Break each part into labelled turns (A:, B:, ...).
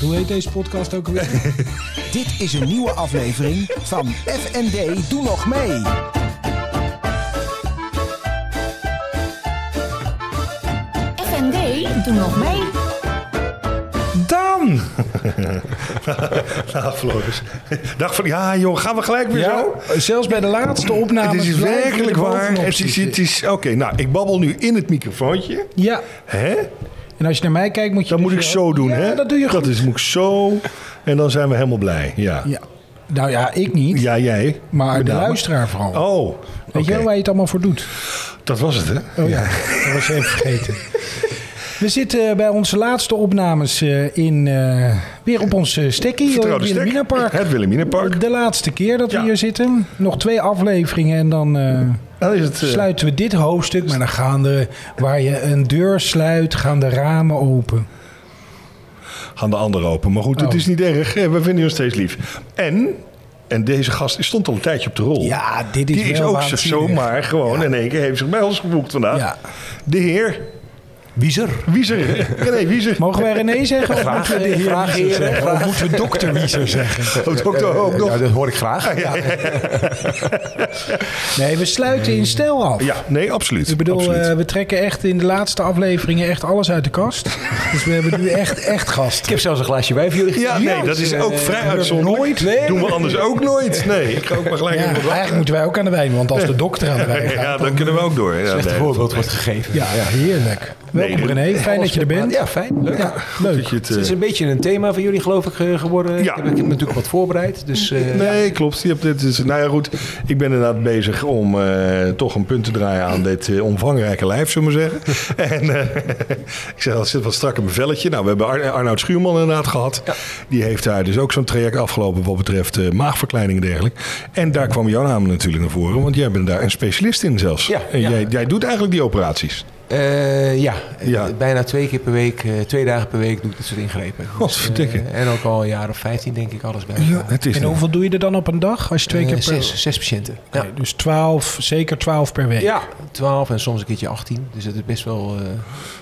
A: Hoe heet deze podcast ook alweer?
B: Dit is een nieuwe aflevering van FND Doe Nog Mee.
C: FND, doe nog mee.
D: Dan! nou, Floris. Dag van, ja joh, gaan we gelijk weer zo?
A: zelfs bij de laatste opname.
D: Het is
A: Nou, blijven we
D: werkelijk
A: er
D: waar.
A: bovenop
D: Het is,
A: zitten.
D: het is, Oké, nou, ik babbel nu in het microfoontje.
A: Ja,
D: Hè?
A: en als je naar mij kijkt moet je...
D: Dat moet ik
A: dus
D: zo doen,
A: ja,
D: hè?
A: dat doe je goed.
D: Dat is, moet ik zo. En dan zijn we helemaal blij. Ja, ja.
A: Ja. Nou ja, ik niet,
D: jij.
A: maar de
D: Bedankt.
A: luisteraar vooral.
D: Oh, oké.
A: Weet je wel waar je het allemaal voor doet?
D: Dat was het, hè?
A: Oh ja, dat was even vergeten. We zitten bij onze laatste opnames eh, in, eh, weer op ons eh, stekkie.
D: Vertrouwde
A: in
D: stek.
A: het Minapark.
D: Het Wilhelminapark.
A: De laatste keer dat we
D: Ja.
A: hier zitten. Nog twee afleveringen en dan eh,
D: Dan is het... eh,
A: sluiten we dit hoofdstuk. Maar dan gaan de, waar je een deur sluit, gaan de ramen open.
D: gaan de anderen open. Maar goed, het
A: Oh.
D: is niet erg. Eh, We vinden je nog steeds lief. En, en deze gast die stond al een tijdje op de rol.
A: Ja, dit is
D: Die is
A: wel
D: ook zo-
A: waanzinnig.
D: zomaar gewoon in één keer heeft zich bij ons geboekt vandaag.
A: Ja.
D: De heer
A: Wiezer.
D: Wieser. René Wieser.
A: Mogen wij René zeggen? Of
E: Graag,
A: moeten we de heer
E: graag,
A: Wiezer
E: heren,
A: zeggen? Of
E: graag.
A: moeten we dokter Wiezer zeggen?
D: Ook, ook, ook, Oh, nog.
E: Ja, dat hoor ik graag.
A: Nee, we sluiten in stijl af.
D: Ja, nee, absoluut.
A: Ik bedoel,
D: absoluut.
A: eh, we trekken echt in de laatste afleveringen echt alles uit de kast. Dus we hebben nu echt, echt gast.
E: Ik heb zelfs een glaasje wijn voor jullie
D: ja, nee, dat is
E: eh,
D: ook vrij uitzonderlijk.
A: nooit, nee.
D: Doen we anders ook nooit. Nee, ik ga ook maar gelijk
A: Ja,
D: even wat
A: eigenlijk moeten wij ook aan de wijn, want als de dokter aan de wijn gaat...
D: Ja, dan kunnen we ook door. Ja,
E: Echt
D: nee.
E: een voorbeeld wordt gegeven.
A: Ja, ja heerlijk. Welkom
D: dit-
A: René, fijn dat je er bent.
E: Ja, fijn. Leuk.
A: Ja, leuk.
D: Dat je het,
E: Het is
D: eh,
E: een beetje een thema van jullie, geloof ik, eh, geworden.
D: Ja.
E: Ik, heb, ik heb natuurlijk wat voorbereid. Dus, eh,
D: Nee, klopt. Je hebt dit, is- nou ja, goed. Ik ben inderdaad bezig om eh, toch een punt te draaien aan dit eh, omvangrijke lijf, zullen we maar zeggen. en eh, ik zeg, dat zit wat strak in mijn velletje. Nou, we hebben Ar- Arnoud Schuurman inderdaad gehad. Die heeft daar dus ook zo'n traject afgelopen wat betreft eh, maagverkleining en dergelijke. En daar kwam jouw naam natuurlijk naar voren, want jij bent daar een specialist in zelfs.
E: Ja,
D: en
E: ja.
D: Jij, jij doet eigenlijk die operaties.
E: eh, ja.
D: Ja.
E: Eh, bijna twee keer per week, eh, twee dagen per week doe ik dit soort ingrepen.
D: Godverdikke.
E: eh, en ook al een jaar of 15 denk ik, alles bij Eh,
D: Ja, het is
A: En hoeveel doe je er dan op een dag? Als je twee keer per...
E: zes, zes patiënten.
A: Oké, Dus 12, zeker 12 per week.
E: Ja, 12 en soms een keertje 18. Dus dat is best wel. eh,
A: Hoe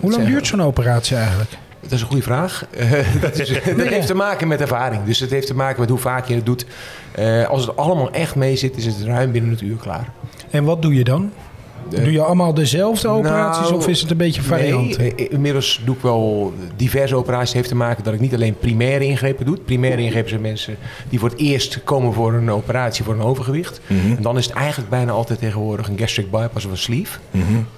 A: lang
E: zeggen.
A: duurt zo'n operatie eigenlijk?
E: Dat is een goede vraag. Eh, dat, is, dat heeft te maken met ervaring. Dus het heeft te maken met hoe vaak je het doet. Eh, als het allemaal echt mee zit, is het ruim binnen het uur klaar.
A: En wat doe je dan?
E: Eh,
A: Doe je allemaal dezelfde
E: nou,
A: operaties of is het een beetje variant?
E: Nee, eh, inmiddels doe ik wel diverse operaties. Het heeft te maken dat ik niet alleen primaire ingrepen doe. Primaire ingrepen zijn mensen die voor het eerst komen voor een operatie voor een overgewicht.
A: Mhm.
E: En dan is het eigenlijk bijna altijd tegenwoordig een gastric bypass of een sleeve.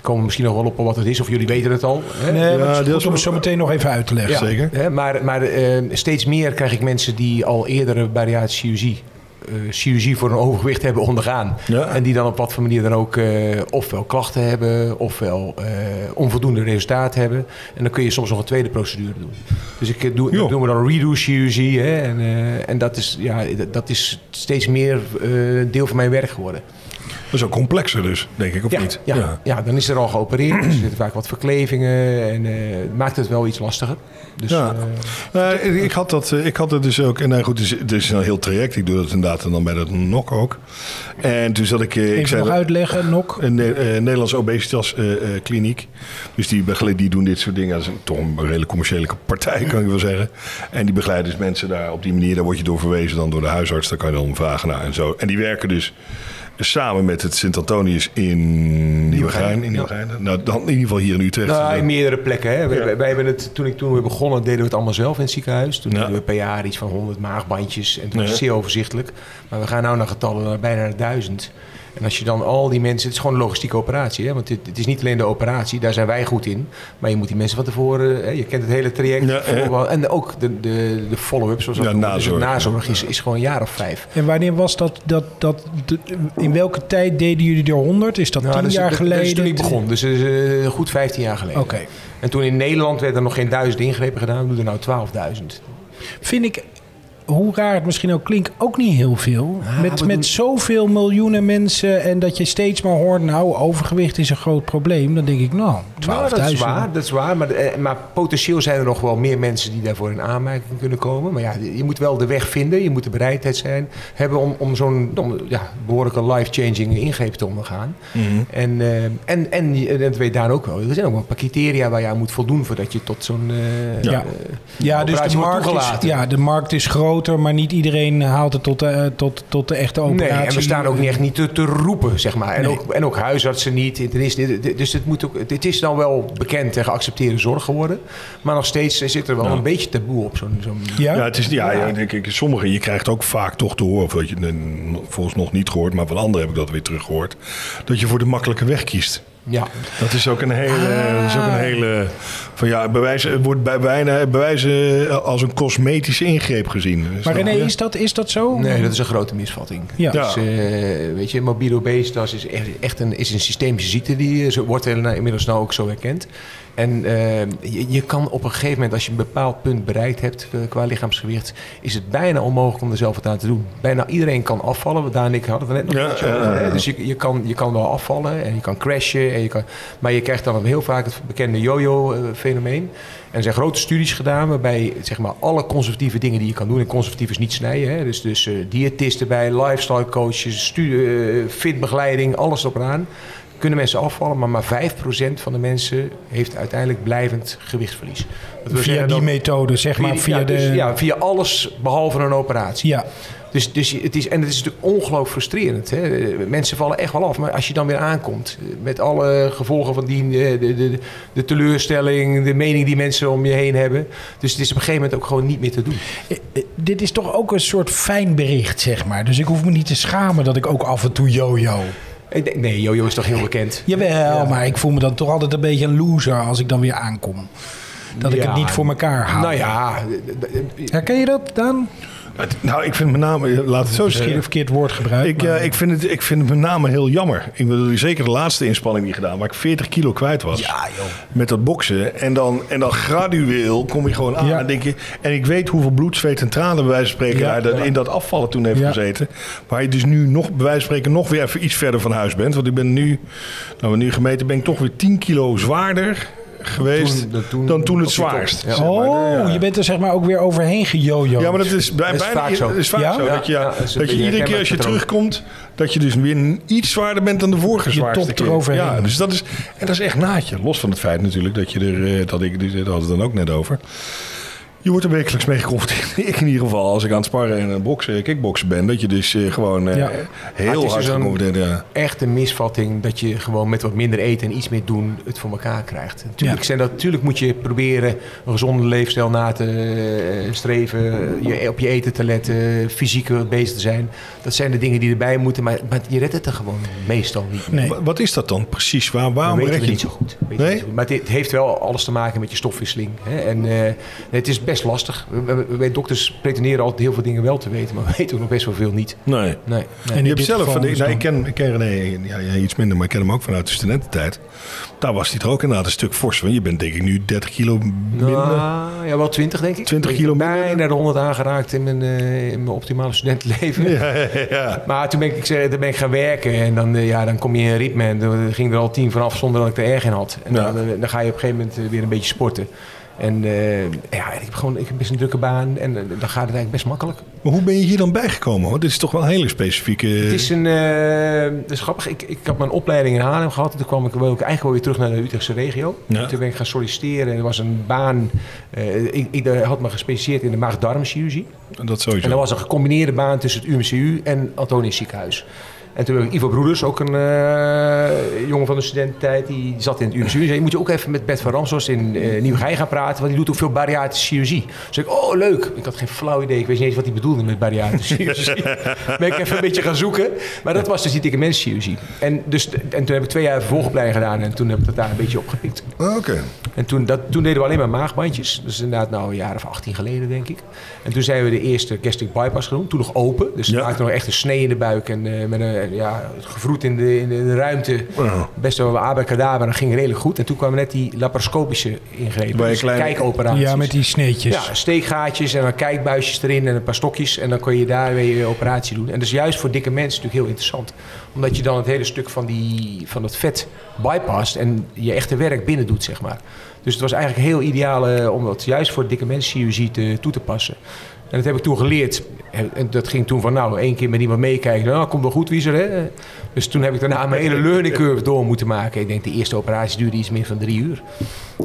E: Komen we misschien nog wel op wat het is, of jullie weten het al. Hè?
A: Mhm. Nee,
D: Ja,
A: maar het is
D: deels
A: goed om
D: wel-
A: het zo meteen nog even uit te leggen.
D: Ja. zeker.
E: Hè, maar maar eh, steeds meer krijg ik mensen die al eerdere bariatische chirurgie, eh, chirurgie voor een overgewicht hebben ondergaan.
D: Ja.
E: En die dan op wat voor manier dan ook eh, ofwel klachten hebben, ofwel eh, onvoldoende resultaat hebben. En dan kun je soms nog een tweede procedure doen. Dus ik eh, doe,
D: Joh.
E: dat doen we dan redo chirurgie. Hè, en eh, en dat, is, ja, dat- dat is steeds meer eh, deel van mijn werk geworden.
D: Dat is ook complexer dus, denk ik, of
E: Ja,
D: niet?
E: ja, ja. dan is er al geopereerd. Dus er zitten vaak wat verklevingen. En eh, het maakt het wel iets lastiger. Dus,
D: Ja.
E: eh,
D: Nou, ik- ik, had dat, eh, ik had dat dus ook. En nou goed, het is, het is een heel traject. Ik doe dat inderdaad en dan bij dat NOC ook. En toen zat ik... eh, ik
A: Even
D: zei
A: nog
D: dat-
A: uitleggen, Nok.
D: een Ne- eh, Nederlandse obesitas eh, eh, kliniek. Dus die, begeleid, die doen dit soort dingen. Dat is een, toch een redelijk commerciële partij, kan ik wel zeggen. En die begeleiden dus mensen daar op die manier. Daar word je door verwezen dan door de huisarts. Daar kan je dan vragen naar en zo. En die werken dus samen met het Sint-Antonius in Nieuwegein. In Nieuwegein. Nou, dan in ieder geval hier in Utrecht.
E: Nou,
D: Dus
E: in
D: dan-
E: meerdere plekken. Hè. Wij, wij- wij hebben het, toen, ik, toen we begonnen, deden we het allemaal zelf in het ziekenhuis. Toen
D: Ja.
E: deden we per jaar iets van 100 maagbandjes. En dat was
D: Ja.
E: zeer overzichtelijk. Maar we gaan nou naar getallen naar bijna naar 1000. En als je dan al die mensen... Het is gewoon een logistieke operatie. Hè? Want het, het is niet alleen de operatie, daar zijn wij goed in. Maar je moet die mensen van tevoren... Hè, je kent het hele traject.
D: Ja, hè.
E: voorbeeld. En ook de, de, de follow-up, zoals dat
D: Ja,
E: noemen. Dus het
D: nazorg.
E: nazorg is, is gewoon een jaar of vijf.
A: En wanneer was dat? dat, dat de- in welke tijd deden jullie er 100? Is dat
E: Nou,
A: 10
E: dat is-
A: jaar
E: dat-
A: geleden?
E: Dat is toen ik begon. Dus dat is eh, goed 15 jaar geleden.
A: Oké.
E: En toen in Nederland werden er nog geen duizend ingrepen gedaan. We doen er nou 12.000.
A: Vind ik, hoe raar het misschien ook klinkt, ook niet heel veel.
E: Ah,
A: met
E: we
A: met
E: doen-
A: zoveel miljoenen mensen en dat je steeds maar hoort... nou, overgewicht is een groot probleem. Dan denk ik, nou, 12.000.
E: Nou, dat is waar, dat is waar. Maar, eh, maar potentieel zijn er nog wel meer mensen die daarvoor in aanmerking kunnen komen. Maar ja, je moet wel de weg vinden. Je moet de bereidheid zijn hebben om, om zo'n om, ja, behoorlijke life-changing ingreep te ondergaan. En, eh, en, en, je- en dat weet Daan ook wel. Er zijn ook wel een paar criteria waar je aan moet voldoen voordat je tot zo'n eh,
D: Ja.
E: eh,
A: Ja, dus de
E: operatie wordt
A: markt, is,
E: toegelaten.
A: ja, de markt is groter, maar niet iedereen haalt het tot de, eh, tot, tot de echte
E: Nee,
A: operatie. eh.
E: en we staan ook niet echt niet te, te roepen, zeg maar. En,
A: Nee.
E: ook, en ook huisartsen niet. Het is, dit- dit- dus het, moet ook, dit is dan wel bekend en geaccepteerde zorg geworden. Maar nog steeds eh, zit er wel een beetje taboe op zo'n... zo'n
A: Ja?
D: Ja, het is, ja, ja. ik- ik- sommige, je krijgt ook vaak toch te horen, of dat je eh, volgens nog niet gehoord, maar van anderen heb ik dat weer teruggehoord, dat je voor de makkelijke weg kiest.
E: ja.
D: Dat is ook een hele,
A: Ah.
D: dat is ook een hele van ja, bij wijze, het wordt bij bijna bij wijze eh, als een cosmetische ingreep gezien.
A: Maar
D: Snap
A: René,
D: je?
A: is dat, is dat zo?
E: Nee, dat is een grote misvatting.
A: Oh, Ja.
D: Ja.
E: Dus, eh, weet je, mobiele obesitas is echt, echt een, is een systemische ziekte. Die eh, zo- wordt heel- nou, inmiddels nou ook zo herkend. En eh, je, je kan op een gegeven moment, als je een bepaald punt bereikt hebt eh, qua lichaamsgewicht, is het bijna onmogelijk om er zelf wat aan te doen. Bijna iedereen kan afvallen. Daan en ik hadden het er net nog
D: Ja,
E: iets over,
D: ja, ja,
E: hè.
D: ja.
E: Dus je, je, kan, je kan wel afvallen en je kan crashen. En je kan, maar je krijgt dan heel vaak het bekende yo-yo-fenomeen. En er zijn grote studies gedaan waarbij zeg maar, alle conservatieve dingen die je kan doen. En conservatief is niet snijden. Hè? Dus, dus eh, diëtisten bij, lifestyle coaches, stu- eh, fitbegeleiding, alles erop en aan. Kunnen mensen afvallen, maar maar 5% van de mensen heeft uiteindelijk blijvend gewichtsverlies. Dat wil
A: Via
E: zeggen
A: die
E: dat-
A: methode, zeg maar. Via
E: ja, dus,
A: de,
E: ja, via alles behalve een operatie.
A: ja.
E: Dus, dus je- het is, en het is natuurlijk ongelooflijk frustrerend. Hè? Eh, Mensen vallen echt wel af. Maar als je dan weer aankomt, eh, met alle gevolgen van die, eh, de, de, de teleurstelling, de mening die mensen om je heen hebben. Dus het is op een gegeven moment ook gewoon niet meer te doen.
A: Eh, eh, Dit is toch ook een soort fijn bericht, zeg maar. Dus ik hoef me niet te schamen dat ik ook af en toe yo-yo.
E: Ik denk, Nee, Jojo is toch heel bekend?
A: Jawel, maar ik voel me dan toch altijd een beetje een loser als ik dan weer aankom. Dat ik
E: Ja.
A: het niet voor elkaar haal.
E: Nou ja, eh, eh,
A: Herken je dat, Daan?
D: Het- Nou, ik vind met name, laat het
A: Zo
D: zo
A: is
E: Eh,
A: een
D: schieten.
A: verkeerd woord gebruikt.
D: Ik, ja, ik, vind het, ik vind het met name heel jammer. Ik bedoel, zeker de laatste inspanning die gedaan, waar ik 40 kilo kwijt was. Met dat boksen. En dan, en dan gradueel kom je gewoon aan.
A: Ja.
D: En, denk je, en ik weet hoeveel bloed, zweet en tranen bij wijze van spreken
A: Ja,
D: daar dat- in dat afvallen toen heeft
A: Ja.
D: gezeten. Waar je dus nu nog, bij wijze van spreken, nog weer even iets verder van huis bent. Want ik ben nu, nou we nu gemeten, ben ik toch weer 10 kilo zwaarder geweest
E: Toen- dan toen-
D: dan toen het
E: op je top.
D: zwaarst.
E: nou Ja.
D: zeg maar.
A: oh, je bent er zeg maar ook weer overheen gejojo.
D: Ja, maar dat is bij-
E: Dat is
D: bijna
E: vaak zo.
D: dat is vaak
A: Ja?
D: zo.
E: Ja,
D: dat je, ja,
E: ja, dat is
D: dat
E: een
D: je
E: beetje
D: iedere keer als je
E: herkenbaar patroon.
D: terugkomt, dat je dus weer iets zwaarder bent dan de vorige
A: Je
D: zwaarste
A: topt
D: keer.
A: eroverheen.
D: Ja, dus dat is, en dat is echt naadje. Los van het feit natuurlijk dat je er, eh, dat ik, daar hadden we het dan ook net over. Je wordt er wekelijks mee geconfronteerd. Ik in ieder geval, als ik aan het sparren en aan het boksen, eh, kickboksen ben. Dat je dus eh, gewoon eh,
A: Ja.
E: Maar
D: heel
E: het is
D: hard
E: dus een-
D: geconfronteerd ja.
E: echt een misvatting dat je gewoon met wat minder eten en iets meer doen het voor elkaar krijgt. Natuurlijk,
A: Ja.
E: zijn dat, natuurlijk moet je proberen een gezonde leefstijl na te eh, streven, je, e-, op je eten te letten, fysiek bezig te zijn. Dat zijn de dingen die erbij moeten, maar, maar je redt het er gewoon meestal niet.
A: Nee.
D: Wa- Wat is dat dan precies? Waar,
E: Dat
D: waarom
E: weten
D: red
E: we
D: Nou, je
E: niet zo goed. Weten we
D: Nee?
E: niet zo goed. Maar het heeft wel alles te maken met je stofwisseling. Hè? En eh, het is best lastig. We- we- we- Wij dokters pretenderen altijd heel veel dingen wel te weten, maar we weten ook nog best wel veel niet.
D: Nee.
E: Nee, nee.
A: in
D: je hebt
A: dit
D: zelf,
A: geval
D: van de-
A: dus
D: nou, ik,
A: dan-
D: ken, ik ken René ja, ja, iets minder, maar ik ken hem ook vanuit de studententijd. Daar was hij er ook inderdaad een stuk fors van. Je bent denk ik nu 30 kilo minder.
E: Nou, ja, wel 20 denk ik.
D: 20
E: Ik
D: kilo
E: heb
D: minder.
E: bijna de 100 aangeraakt in mijn, eh, in mijn optimale studentenleven.
D: ja.
E: Maar toen ben ik, ik zei, toen ben ik gaan werken en dan, eh, ja, dan kom je in een ritme en dan ging er al 10 vanaf zonder dat ik er erg in had. En
D: Ja.
E: dan, eh, dan ga je op een gegeven moment eh, weer een beetje sporten. En eh, ja, ik heb gewoon ik heb best een drukke baan en eh, dan gaat het eigenlijk best makkelijk.
D: Maar hoe ben je hier dan bijgekomen? Hoor? Dit is toch wel een hele specifieke...
E: Het is een, eh dat is grappig, ik, ik had mijn opleiding in Haarlem gehad. en Toen kwam ik, wilde ik eigenlijk wel weer terug naar de Utrechtse regio.
D: Ja.
E: Toen ben ik gaan solliciteren en er was een baan. eh, ik, ik eh, had me gespecialiseerd in de maag-darmchirurgie.
D: Dat
E: En dat
D: sowieso.
E: was een gecombineerde baan tussen het UMCU en Antonius Ziekenhuis. En toen heb ik Ivo Broeders, ook een eh, jongen van de studententijd, die zat in het UMCU. Die zei, moet je ook even met Bert van Ramshorst in eh Nieuwegein gaan praten, want die doet ook veel bariatische chirurgie. Toen zei ik, oh leuk. Ik had geen flauw idee, ik wist niet eens wat hij bedoelde met bariatische chirurgie. ben ik even een beetje gaan zoeken. Maar dat was dus die dikke menschirurgie. En, dus, en toen heb ik twee jaar vervolgopleiding gedaan en toen heb ik dat daar een beetje opgepikt.
D: Ah, Oké.
E: En toen, dat, toen deden we alleen maar maagbandjes. Dat is inderdaad nou een jaar of 18 geleden, denk ik. En toen zijn we de eerste gastric bypass genoemd. Toen nog open. Dus we
D: Ja.
E: maakten nog echt een snee in de buik. En eh, met een ja, gevroet in de, in de, in de ruimte.
D: Ja.
E: Best wel abracadabra. Dat ging redelijk goed. En toen kwamen net die laparoscopische ingrepen.
D: Bij een
E: Dus
D: kleine-
E: kijkoperaties.
A: Ja, met die sneetjes.
E: Ja, steekgaatjes en dan kijkbuisjes erin en een paar stokjes. En dan kon je daar weer je operatie doen. En dat is juist voor dikke mensen natuurlijk heel interessant. Omdat je dan het hele stuk van, die, van dat vet bypast en je echte werk binnen doet, zeg maar. Dus het was eigenlijk heel ideaal eh, om dat juist voor dikke mensen chirurgie te, toe te passen. En dat heb ik toen geleerd. en dat ging toen van, nou, één keer met iemand meekijken. Nou, komt wel goed, wie is er, hè? Dus toen heb ik daarna mijn hele learning curve door moeten maken. Ik denk, de eerste operatie duurde iets meer van drie uur.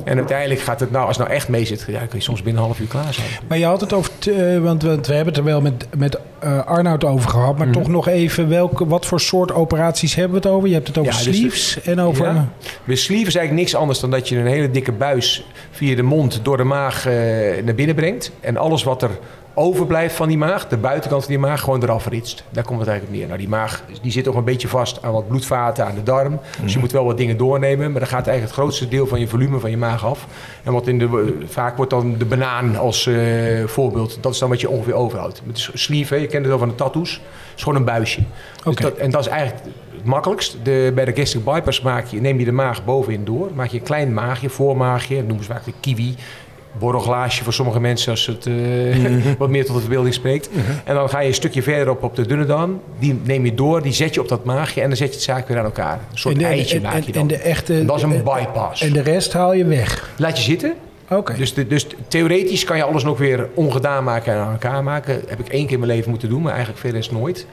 E: En uiteindelijk gaat het, nou, als het nou echt mee zit, ja, kun je soms binnen een half uur klaar zijn.
A: Maar je had het over, t- eh, want, want we hebben het er wel met, met eh, Arnoud over gehad, maar
E: Mhm.
A: toch nog even, welke, wat voor soort operaties hebben we het over? Je hebt het over
E: Ja, dus
A: sleeves en over...
E: Ja. Bij sleeve is eigenlijk niks anders dan dat je een hele dikke buis via de mond door de maag eh, naar binnen brengt. En alles wat er overblijft van die maag, de buitenkant van die maag, gewoon eraf ritst. Daar komt het eigenlijk op neer. Nou, die maag die zit toch een beetje vast aan wat bloedvaten, aan de darm. Dus je moet wel wat dingen doornemen, maar dan gaat eigenlijk het grootste deel van je volume van je maag af. En wat in de, eh, vaak wordt dan de banaan als eh, voorbeeld. Dat is dan wat je ongeveer overhoudt. Met sleeve, hè, je kent het wel van de tattoos. Het is gewoon een buisje. Dus
A: Oké.
E: dat- en dat is eigenlijk het makkelijkst. De, bij de gastric bypass maak je, neem je de maag bovenin door. Maak je een klein maagje, voormaagje. Dat noemen ze vaak de kiwi. Borrelglaasje voor sommige mensen als het eh,
A: Mhm.
E: wat meer tot de verbeelding spreekt. En dan ga je een stukje verder op, op de dunne dam. Die neem je door, die zet je op dat maagje en dan zet je het zaak weer aan elkaar. Een soort
A: en de,
E: eitje
A: en,
E: maak je
A: en-
E: dan.
A: en de echte...
E: En dat is een
A: eh,
E: bypass.
A: En de rest haal je weg.
E: Laat je zitten.
A: Oké.
E: Dus, de- dus theoretisch kan je alles nog weer ongedaan maken en aan elkaar maken. Heb ik één keer in mijn leven moeten doen, maar eigenlijk verder is nooit.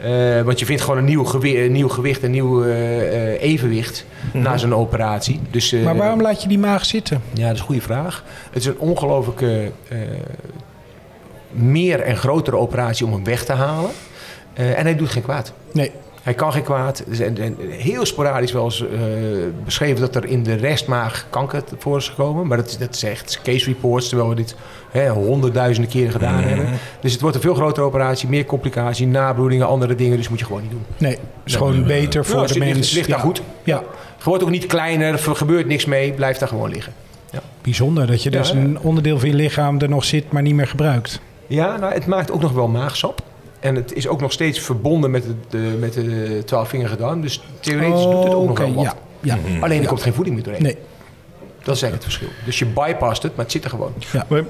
E: Eh, want je vindt gewoon een nieuw, gewi- een nieuw gewicht, een nieuw eh, eh, evenwicht na zo'n operatie. Dus, eh,
A: Mhm. maar waarom laat je die maag zitten?
E: Ja, dat is een goede vraag. Het is een ongelooflijke eh, meer en grotere operatie om hem weg te halen. Eh, en hij doet geen kwaad.
A: Nee.
E: Hij kan geen kwaad. Er zijn- er zijn heel sporadisch wel eens eh, beschreven dat er in de restmaag kanker te- voor is gekomen. Maar dat, is- dat is echt case reports, terwijl we dit hè, honderdduizenden keren gedaan hebben. Dus het wordt een veel grotere operatie, meer complicatie, nabloedingen, andere dingen. Dus moet je gewoon niet doen.
A: Nee, is gewoon beter voor
E: Ja,
A: de
E: het ligt-
A: mens.
E: ligt daar
A: ja.
E: goed.
A: Ja,
E: Het wordt ook niet kleiner, er gebeurt niks mee, blijft daar gewoon liggen.
A: bijzonder dat je
E: Ja,
A: dus
E: ja.
A: een onderdeel van je lichaam er nog zit, maar niet meer gebruikt.
E: Ja, nou, het maakt ook nog wel maagsap. En het is ook nog steeds verbonden met de, de- met de twaalfvingerige darm. Dus theoretisch doet het ook nog
A: Oké,
E: wel wat. Mhm.
A: ja, ja.
E: Alleen er komt geen voeding meer doorheen.
A: Nee,
E: Dat is eigenlijk het verschil. Dus je bypast het, maar het zit er gewoon.
D: Maar,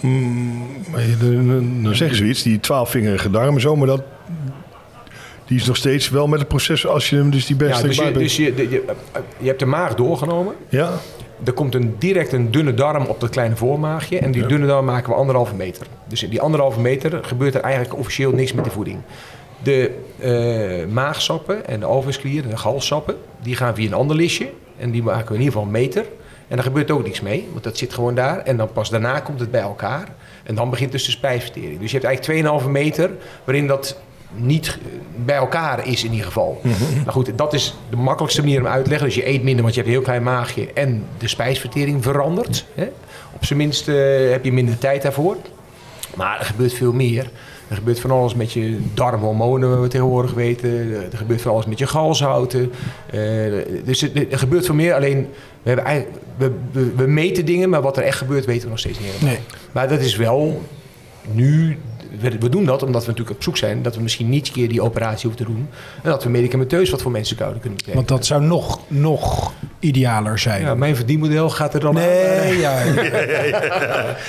D: mm, maar je- dan- dan zeggen ze iets, die twaalfvingerige darm en zo, maar dat, die is nog steeds wel met het proces als je hem dus die
E: Ja,
D: beste
E: dus je,
D: bij
E: dus je, de- je, eh, je hebt de maag doorgenomen.
D: ja?
E: Er komt een, direct een dunne darm op dat kleine voormaagje. En die dunne darm maken we anderhalve meter. Dus in die anderhalve meter gebeurt er eigenlijk officieel niks met de voeding. De eh, maagsappen en de alveosklieren, de galsappen, die gaan via een ander listje. En die maken we in ieder geval een meter. En daar gebeurt ook niks mee, want dat zit gewoon daar. En dan pas daarna komt het bij elkaar. En dan begint dus de spijsvertering. Dus je hebt eigenlijk 2,5 meter waarin dat niet eh, bij elkaar is in ieder geval. Nou goed, dat is de makkelijkste manier om uit te leggen. Dus je eet minder, want je hebt een heel klein maagje en de spijsvertering verandert. Hè? Op zijn minst eh, heb je minder tijd daarvoor. Maar er gebeurt veel meer. Er gebeurt van alles met je darmhormonen, wat we tegenwoordig weten. Er gebeurt van alles met je galshouten. Eh, dus het- er gebeurt veel meer. Alleen, we, hebben eigenlijk, we, we, we meten dingen, maar wat er echt gebeurt, weten we nog steeds niet helemaal.
A: nee.
E: Maar dat is wel nu. We we doen dat omdat we natuurlijk op zoek zijn dat we misschien niet een keer die operatie hoeven te doen. En dat we medicamenteus wat voor mensen zouden kunnen betekenen.
A: Want dat zou nog, nog idealer zijn.
E: Ja, mijn verdienmodel gaat er dan
A: Nee, ja.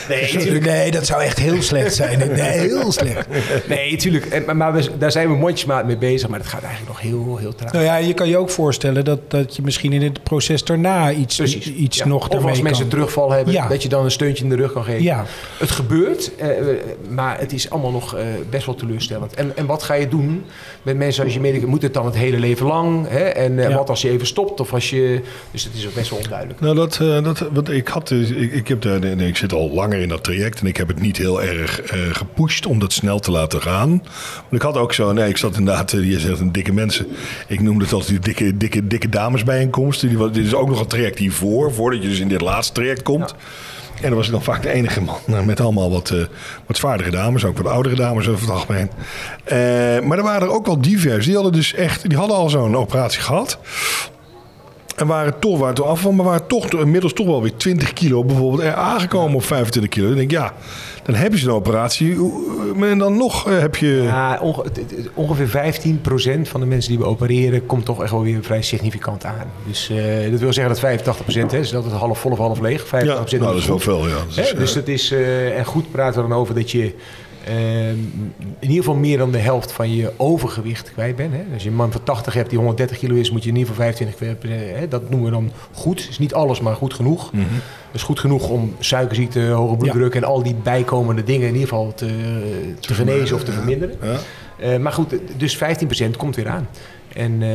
E: Nee,
A: Sorry, nee, dat zou echt heel slecht zijn. Nee, heel slecht.
E: Nee, tuurlijk. En- maar maar we- daar zijn we mondjesmaat mee bezig. Maar dat gaat eigenlijk nog heel, heel traag.
A: Nou ja, je kan je ook voorstellen dat, dat je misschien in het proces daarna iets,
E: Precies.
A: iets
E: Ja.
A: nog
E: Of
A: ermee
E: als mensen
A: kan.
E: terugval hebben,
A: Ja.
E: dat je dan een steuntje in de rug kan geven.
A: Ja.
E: Het gebeurt, eh, maar het is allemaal nog eh, best wel teleurstellend. En, en wat ga je doen met mensen als je medic... Moet het dan het hele leven lang? Hè? En eh,
A: Ja.
E: wat als je even stopt? Of als je... Dus het is ook best wel onduidelijk.
D: Nou, dat, eh, dat, want ik, had, dus- ik, ik, heb daar, nee, nee, ik zit al langer in dat traject en ik heb het niet heel erg eh gepusht om dat snel te laten gaan. Want ik had ook zo, nee, ik zat inderdaad, eh, je zegt een dikke mensen. Ik noemde het altijd die dikke, dikke, dikke damesbijeenkomsten. Die, was- dit is ook nog een traject hiervoor, voordat je dus in dit laatste traject komt. En dan was ik dan vaak de enige man eh, met allemaal wat, eh, wat zwaardere dames, ook wat oudere dames over het algemeen. Eh, maar er waren er ook wel divers. Die hadden dus echt, die hadden al zo'n operatie gehad. En waren toch, waren toch afval, maar waren toch inmiddels toch wel weer 20 kilo bijvoorbeeld er aangekomen op 25 kilo. Dan denk ik, ja, dan heb je zo'n operatie. hoe- En dan nog eh, heb je.
E: Ja, onge- het- het- het- ongeveer 15% van de mensen die we opereren komt toch echt wel weer vrij significant aan. Dus eh, dat wil zeggen dat 85% hè, is dat het half vol of half leeg. 85%
D: Ja, nou, dat
E: doet
D: is wel veel.
E: goed.
D: Ja. Dat is,
E: Hè, dus
D: eh,
E: dat is, eh, en goed praten we dan over dat je ehm, in ieder geval meer dan de helft van je overgewicht kwijt bent. Hè? Als je een man van 80 hebt die 130 kilo is, moet je in ieder geval 25 kilo hebben, hè? Dat noemen we dan goed. Is niet alles, maar goed genoeg.
D: Mhm.
E: Dat is goed genoeg om suikerziekte, hoge bloeddruk en al die bijkomende dingen in ieder geval te, eh, te genezen of te verminderen.
D: Ja.
E: Eh, maar goed, dus 15% komt weer aan. En, ehm,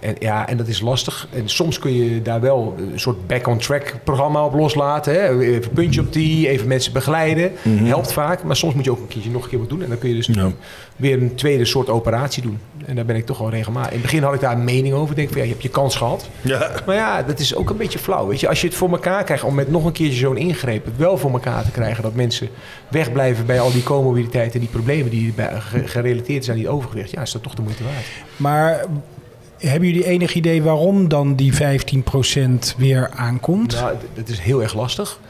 E: en, ja, en dat is lastig. En soms kun je daar wel een soort back-on-track programma op loslaten. Hè? Even een puntje op die, even mensen begeleiden. Helpt vaak. Maar soms moet je ook een keertje nog een keer wat doen. En dan kun je dus
D: Mhm. Ja.
E: weer een tweede soort operatie doen. En daar ben ik toch wel regelmatig. In het begin had ik daar een mening over. Ik denk van ja, je hebt je kans gehad.
D: Ja.
E: Maar ja, dat is ook een beetje flauw. Weet je, als je het voor elkaar krijgt om met nog een keertje zo'n ingreep het wel voor elkaar te krijgen. Dat mensen wegblijven bij al die comorbiditeiten en die problemen die erbij ge- gerelateerd zijn aan die overgewicht. Ja, is dat toch de moeite waard.
A: Maar hebben jullie enig idee waarom dan die 15% weer aankomt?
E: Nou, d- dat is heel erg lastig.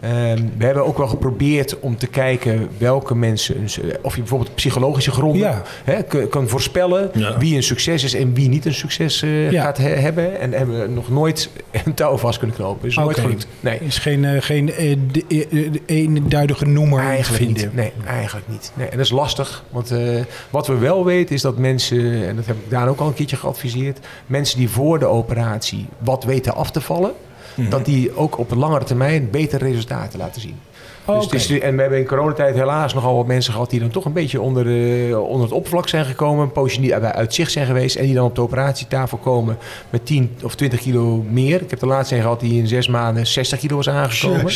E: Ehm, we hebben ook wel geprobeerd om te kijken welke mensen, een su- of je bijvoorbeeld psychologische gronden
A: Ja.
E: hè, k- kan voorspellen
D: Ja.
E: wie een succes is en wie niet een succes eh,
A: Ja.
E: gaat he- hebben. En hebben we nog nooit een touw vast kunnen knopen. Is nooit
A: Oké.
E: gelukt. Nee.
A: Is geen, eh, geen eh, de- eh, eh, eenduidige noemer in te
E: Eigenlijk
A: vinden.
E: niet. Nee, eigenlijk niet. Nee, en dat is lastig. Want eh, wat we wel weten is dat mensen, en dat heb ik daar ook al een keertje geadviseerd, mensen die voor de operatie wat weten af te vallen,
A: Mhm.
E: dat die ook op langere termijn betere resultaten laten zien.
A: Oh,
E: Dus
A: oké.
E: het is, en we hebben in coronatijd helaas nogal wat mensen gehad die dan toch een beetje onder, de- onder het oppervlak zijn gekomen. Een poosje niet uit zicht zijn geweest. En die dan op de operatietafel komen met 10 of 20 kilo meer. Ik heb de laatste een gehad die in zes maanden 60 kilo was aangekomen. Maar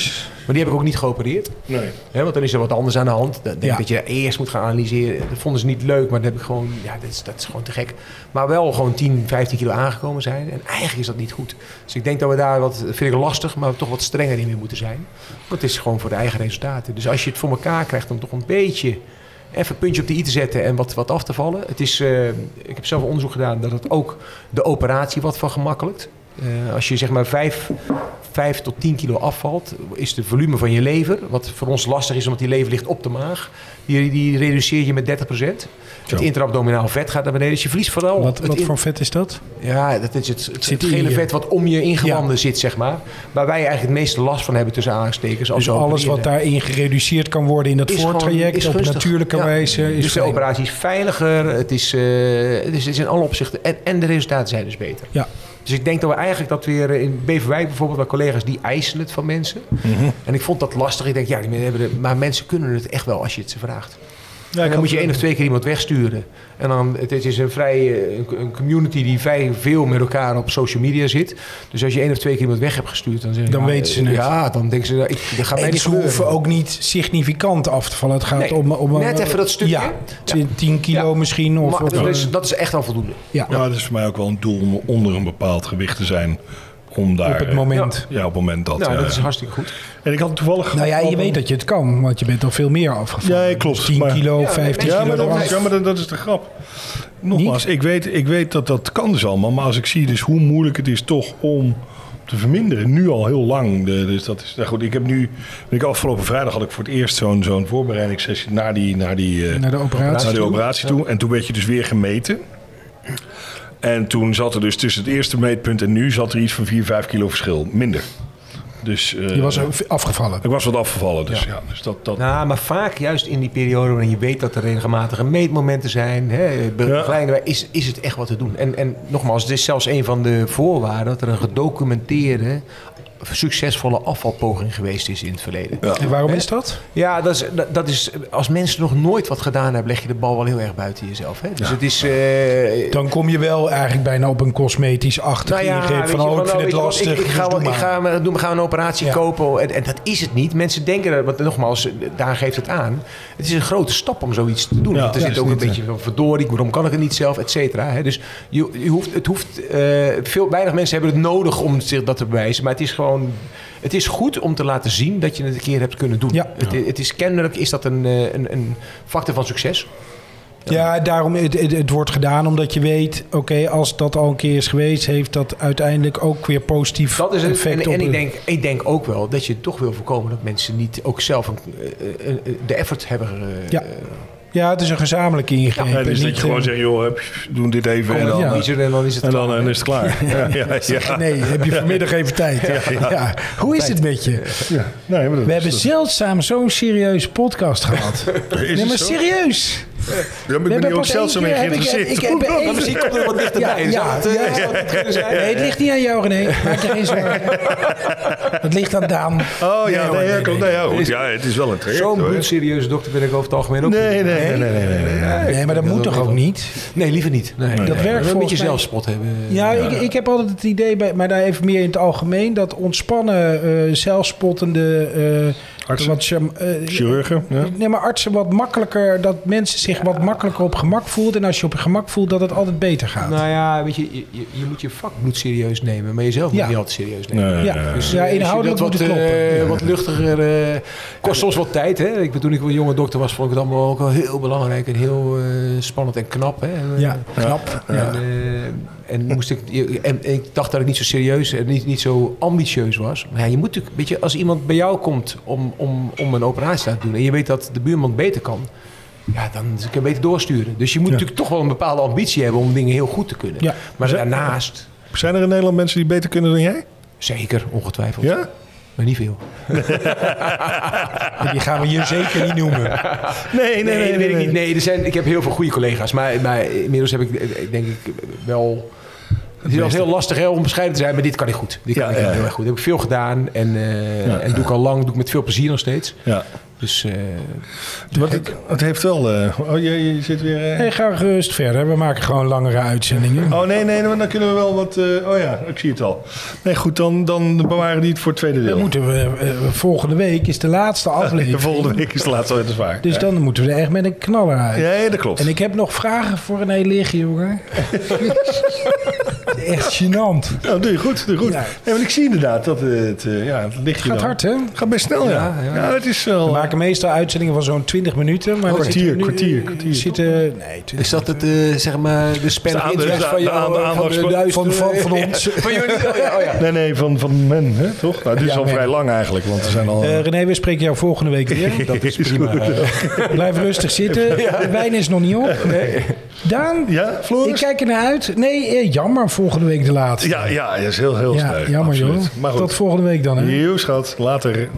E: die heb ik ook niet geopereerd.
D: Nee.
E: Hè, want dan is er wat anders aan de hand. Dan denk ik
A: Ja.
E: dat je eerst moet gaan analyseren. Dat vonden ze niet leuk, maar dat heb ik gewoon. Ja, dat is, dat is gewoon te gek. Maar wel gewoon 10, 15 kilo aangekomen zijn. En eigenlijk is dat niet goed. Dus ik denk dat we daar wat. Dat vind ik lastig, maar toch wat strenger in weer moeten zijn. Want het is gewoon voor de eigen resultaten. Dus als je het voor elkaar krijgt om toch een beetje. Even een puntje op de i te zetten en wat, wat af te vallen. Het is, eh, ik heb zelf onderzoek gedaan dat het ook de operatie wat vergemakkelijkt. Eh, als je zeg maar 5, 5 tot 10 kilo afvalt, is de volume van je lever, wat voor ons lastig is omdat die lever ligt op de maag, die, die reduceer je met 30%. Het
D: Zo.
E: intraabdominaal vet gaat naar beneden, dus je verliest vooral...
A: Wat,
E: het
A: wat
E: in-
A: voor vet is dat?
E: ja, dat is het, het,
A: Zit
E: het gele
A: in je-
E: vet wat om je ingewanden zit, zeg maar. Waar wij eigenlijk het meeste last van hebben tussen aanhalingstekens. als
A: Dus
E: we
A: alles
E: opereren.
A: wat daarin gereduceerd kan worden in dat
E: Is gewoon-
A: voortraject
E: is
A: op
E: gunstig.
A: natuurlijke
E: Ja.
A: wijze. Is
E: Dus de
A: fijn.
E: operatie is veiliger, het is, eh, het is, het is in alle opzichten. En, en de resultaten zijn dus beter.
A: Ja.
E: Dus ik denk dat we eigenlijk dat weer eh, in Beverwijk bijvoorbeeld, waar collega's die eisen het van mensen.
A: Mhm.
E: En ik vond dat lastig. Ik denk, ja, die mensen hebben de- maar mensen kunnen het echt wel als je het ze vraagt.
A: Ja,
E: En dan moet je
D: eh,
E: één of twee keer iemand wegsturen. En dan, het is een vrij, eh, een- een community die vrij veel met elkaar op social media zit. Dus als je één of twee keer iemand weg hebt gestuurd, dan zeggen
A: Dan
E: ja,
A: weten ze
E: eh,
A: het.
E: Ja, dan denken ze, nou, ik, dat gaat mij
A: En
E: niet
A: ze hoeven
E: gebeuren.
A: ook niet significant af te vallen. Het gaat
E: Nee,
A: om, om...
E: net even dat stukje.
A: Ja,
E: Ja.
A: 10 kilo
E: Ja.
A: misschien. Of,
E: Maar
A: of,
E: dat, is,
A: eh,
E: dat is echt al voldoende.
A: ja,
D: Nou, het is voor mij ook wel een doel om onder een bepaald gewicht te zijn. Om daar, eh,
A: op het moment.
D: Ja, op het moment dat. eh,
E: Nou,
D: ja.
E: dat is hartstikke goed.
D: En ik had toevallig...
A: Nou ja, je weet dat je het kan, want je bent al veel meer afgevallen.
D: Ja, klopt,
A: 10
D: maar-
A: kilo,
E: Ja,
A: 15
D: Ja,
A: kilo.
D: maar, dat
A: eraf.
D: is, ja, maar dat, dat is de grap. Nogmaals, ik weet, ik weet dat dat kan dus allemaal. Maar als ik zie dus hoe moeilijk het is toch om te verminderen. Nu al heel lang. De- dus dat is, nou goed, ik heb nu... Ik afgelopen vrijdag had ik voor het eerst zo'n zo'n voorbereidingssessie naar die... Naar die eh,
A: Naar de operatie.
D: naar de operatie toe. En toen werd je dus weer gemeten. En toen zat er dus tussen het eerste meetpunt en nu zat er iets van 4, 5 kilo verschil. Minder. Dus eh,
A: Je was afgevallen.
D: ik was wat afgevallen. Dus, ja. dus dat, dat,
E: Nou, maar vaak juist in die periode waarin je weet dat er regelmatige meetmomenten zijn, hè, be-
D: Ja.
E: begeleiden wij, is, is het echt wat te doen. En, en nogmaals, het is zelfs een van de voorwaarden dat er een gedocumenteerde, succesvolle afvalpoging geweest is in het verleden. Ja,
A: En waarom is dat?
E: dat, is, dat, dat is, als mensen nog nooit wat gedaan hebben, leg je de bal wel heel erg buiten jezelf. Hè? Dus het is... eh,
A: Dan kom je wel eigenlijk bijna op een cosmetisch achtig
E: Nou ja,
A: ingreep.
E: weet
A: Van,
E: je,
A: oh, ik
E: van,
A: vind
E: oh,
A: het
E: weet je wat,
A: lastig,
E: Ik, ik,
A: dus
E: ga, wel-
A: doe
E: ik
A: maar.
E: ga, me- doe, we gaan een operatie
A: Ja.
E: kopen. En, en dat is het niet. Mensen denken, dat- want nogmaals, daar geeft het aan. Het is een grote stap om zoiets te doen.
D: Ja,
E: Want er
D: ja,
E: zit
D: is
E: ook een
D: niet,
E: beetje van verdorie, waarom kan ik het niet zelf, et cetera. hè. Dus je, je hoeft, het hoeft, eh, veel, weinig mensen hebben het nodig om zich dat te bewijzen. Maar het is gewoon, het is goed om te laten zien dat je het een keer hebt kunnen doen.
A: Ja.
E: Het, het is kennelijk, is dat een, eh, een, een factor van succes.
A: Ja, daarom het, het, het wordt gedaan omdat je weet, oké, als dat al een keer is geweest, heeft dat uiteindelijk ook weer positief
E: Dat is het.
A: effect
E: En,
A: op.
E: en ik,
A: het-
E: denk, ik denk ook wel dat je toch wil voorkomen dat mensen niet ook zelf een, eh, eh, eh, de effort hebben eh,
A: Ja.
E: eh,
A: Ja, het is een gezamenlijke ingreep.
D: Ja, dus
A: en
D: dat
A: niet,
D: je gewoon
A: eh,
D: zegt, joh, heb- doen dit even en
E: En
D: dan,
A: ja.
E: dan,
D: eh,
E: kiezer en dan is het
D: en dan
E: klaar.
D: eh, is het klaar. Ja, ja, ja.
A: Nee, heb je vanmiddag even tijd. Ja, Hoe is het met je?
D: Nee, maar
A: We
D: dat is-
A: hebben zeldzaam zo'n serieuze podcast gehad.
D: is
A: nee,
D: het
A: maar
D: zo?
A: serieus.
D: Ja, maar
A: We
D: ik ben
A: hebben
D: hier ook
A: pas één
D: zeldzaam in
A: keer- heb ik-
D: geïnteresseerd.
A: ik heb
E: Maar
A: één-
E: misschien komt er wat dichterbij.
A: Ja, ja,
E: Zou dat, eh,
A: ja.
E: zou dat kunnen zijn?
A: Nee, het ligt niet aan jou, René. Maak je geen zorgen. Het ligt aan Daan.
D: Oh ja, nee,
A: hoor,
D: ja,
A: nee,
D: kom, nee, ja, goed. Ja, het is wel een traject
E: Zo'n
D: hoor.
E: bloedserieuze dokter ben ik over het algemeen ook
D: Nee, nee,
E: niet.
D: nee, nee, nee. nee, nee, ja.
A: Nee, maar dat moet toch ook niet?
E: Nee, liever niet. Nee,
A: Dat werkt
E: Een
A: volgens
E: beetje
A: mij-
E: zelfspot hebben.
A: Ja, Ik, ik heb altijd het idee, bij, maar daar even meer in het algemeen... dat ontspannen, eh, zelfspottende... eh,
D: Artsen.
A: wat, cham- eh,
D: Chirurgen, ja.
A: Nee, maar artsen wat makkelijker... dat mensen zich wat makkelijker op gemak voelt... en als je op je gemak voelt, dat het altijd beter gaat.
E: Nou ja, weet je, je, je- je moet je vak bloed serieus nemen, maar jezelf moet
A: Ja.
E: je niet altijd serieus nemen.
D: Nee,
A: ja,
D: nee,
E: Dus,
A: ja,
E: eh, als je
A: inhoudelijk
E: dat
A: moet het
E: wat,
A: kloppen.
E: eh, wat luchtiger. eh, kost soms wat tijd. Hè? Ik, ben- toen ik wel jonge dokter was, vond ik het allemaal ook wel heel belangrijk en heel eh, spannend en knap. Hè? En, eh,
A: Ja, knap.
E: En, eh, en moest ik, en, en ik dacht dat ik niet zo serieus en niet, niet zo ambitieus was. Maar ja, je moet natuurlijk, weet je, als iemand bij jou komt om, om, om een operatie te laten doen en je weet dat de buurman beter kan, ja, dan kun je beter doorsturen. Dus je moet natuurlijk toch wel een bepaalde ambitie hebben om dingen heel goed te kunnen.
A: Ja.
E: Maar daarnaast,
D: Zijn er in Nederland mensen die beter kunnen dan jij?
E: zeker, ongetwijfeld.
D: Ja?
E: Maar niet veel.
A: Die gaan we hier zeker niet noemen.
D: Nee,
E: Nee, dat weet ik niet. Nee, er zijn, ik heb heel veel goede collega's. Maar, maar inmiddels heb ik, eh, denk ik, wel... Het is wel heel lastig hè, om bescheiden te zijn, maar dit kan ik goed. Dit kan
D: Ja,
E: ik
D: ja,
E: heel
D: ja.
E: erg goed. Heb ik veel gedaan en, eh, en doe ik al lang, doe ik met veel plezier nog steeds.
D: Ja.
E: Dus eh,
D: Wat het, het heeft wel... eh, oh, je, je zit weer... eh,
A: Hey, ga gerust verder. We maken gewoon langere uitzendingen.
D: Oh nee, nee, maar dan kunnen we wel wat... eh, oh ja, ik zie het al. Nee, goed, dan, dan bewaren die het voor het tweede
A: Dan
D: deel.
A: moeten we, eh, volgende week is de laatste
D: De
A: aflevering.
D: volgende week is de laatste, dat is waar.
A: Dus dan moeten we er echt met een knaller uit.
D: Ja, ja, dat klopt.
A: En ik heb nog vragen voor een liggen, jongen. echt gênant.
D: Nou, doe je goed, doe je goed.
A: Ja.
D: Nee, want ik zie inderdaad dat het, eh, ja, het lichtje
A: Gaat
D: dan-
A: hard, hè?
D: Gaat best snel, ja. Ja,
E: Ja, ja.
D: het is wel...
A: We maken meestal uitzendingen van zo'n 20 minuten. Maar
D: Kwartier,
A: we zitten nu-
D: kwartier, kwartier.
A: Zitten, nee, 20
E: is dat het, eh, zeg maar, de span
D: De
E: of
D: aandacht-
E: interest
D: de-
E: van
D: de
E: jou? eh,
D: aandacht-
E: van de
D: van-
E: duizenden-
A: van- van ons.
E: Ja, van jullie? Oh ja, oh ja.
D: eh, Nee, nee, van, van men, hè, toch? Nou, dit is
A: Ja,
D: al
A: men.
D: vrij lang eigenlijk, want er zijn al...
A: Eh, René, we spreken jou volgende week weer.
E: Dat is prima.
A: Blijf rustig zitten. De wijn is nog niet op. Daan,
D: ja, Floris?
A: ik kijk ernaar uit. Nee, eh, jammer, volgende week de laatste.
D: Ja, ja, dat is heel, heel
A: Ja,
D: snel.
A: jammer
D: absoluut.
A: joh.
D: Maar goed.
A: Tot volgende week dan. Hè?
D: Joe, schat. Later.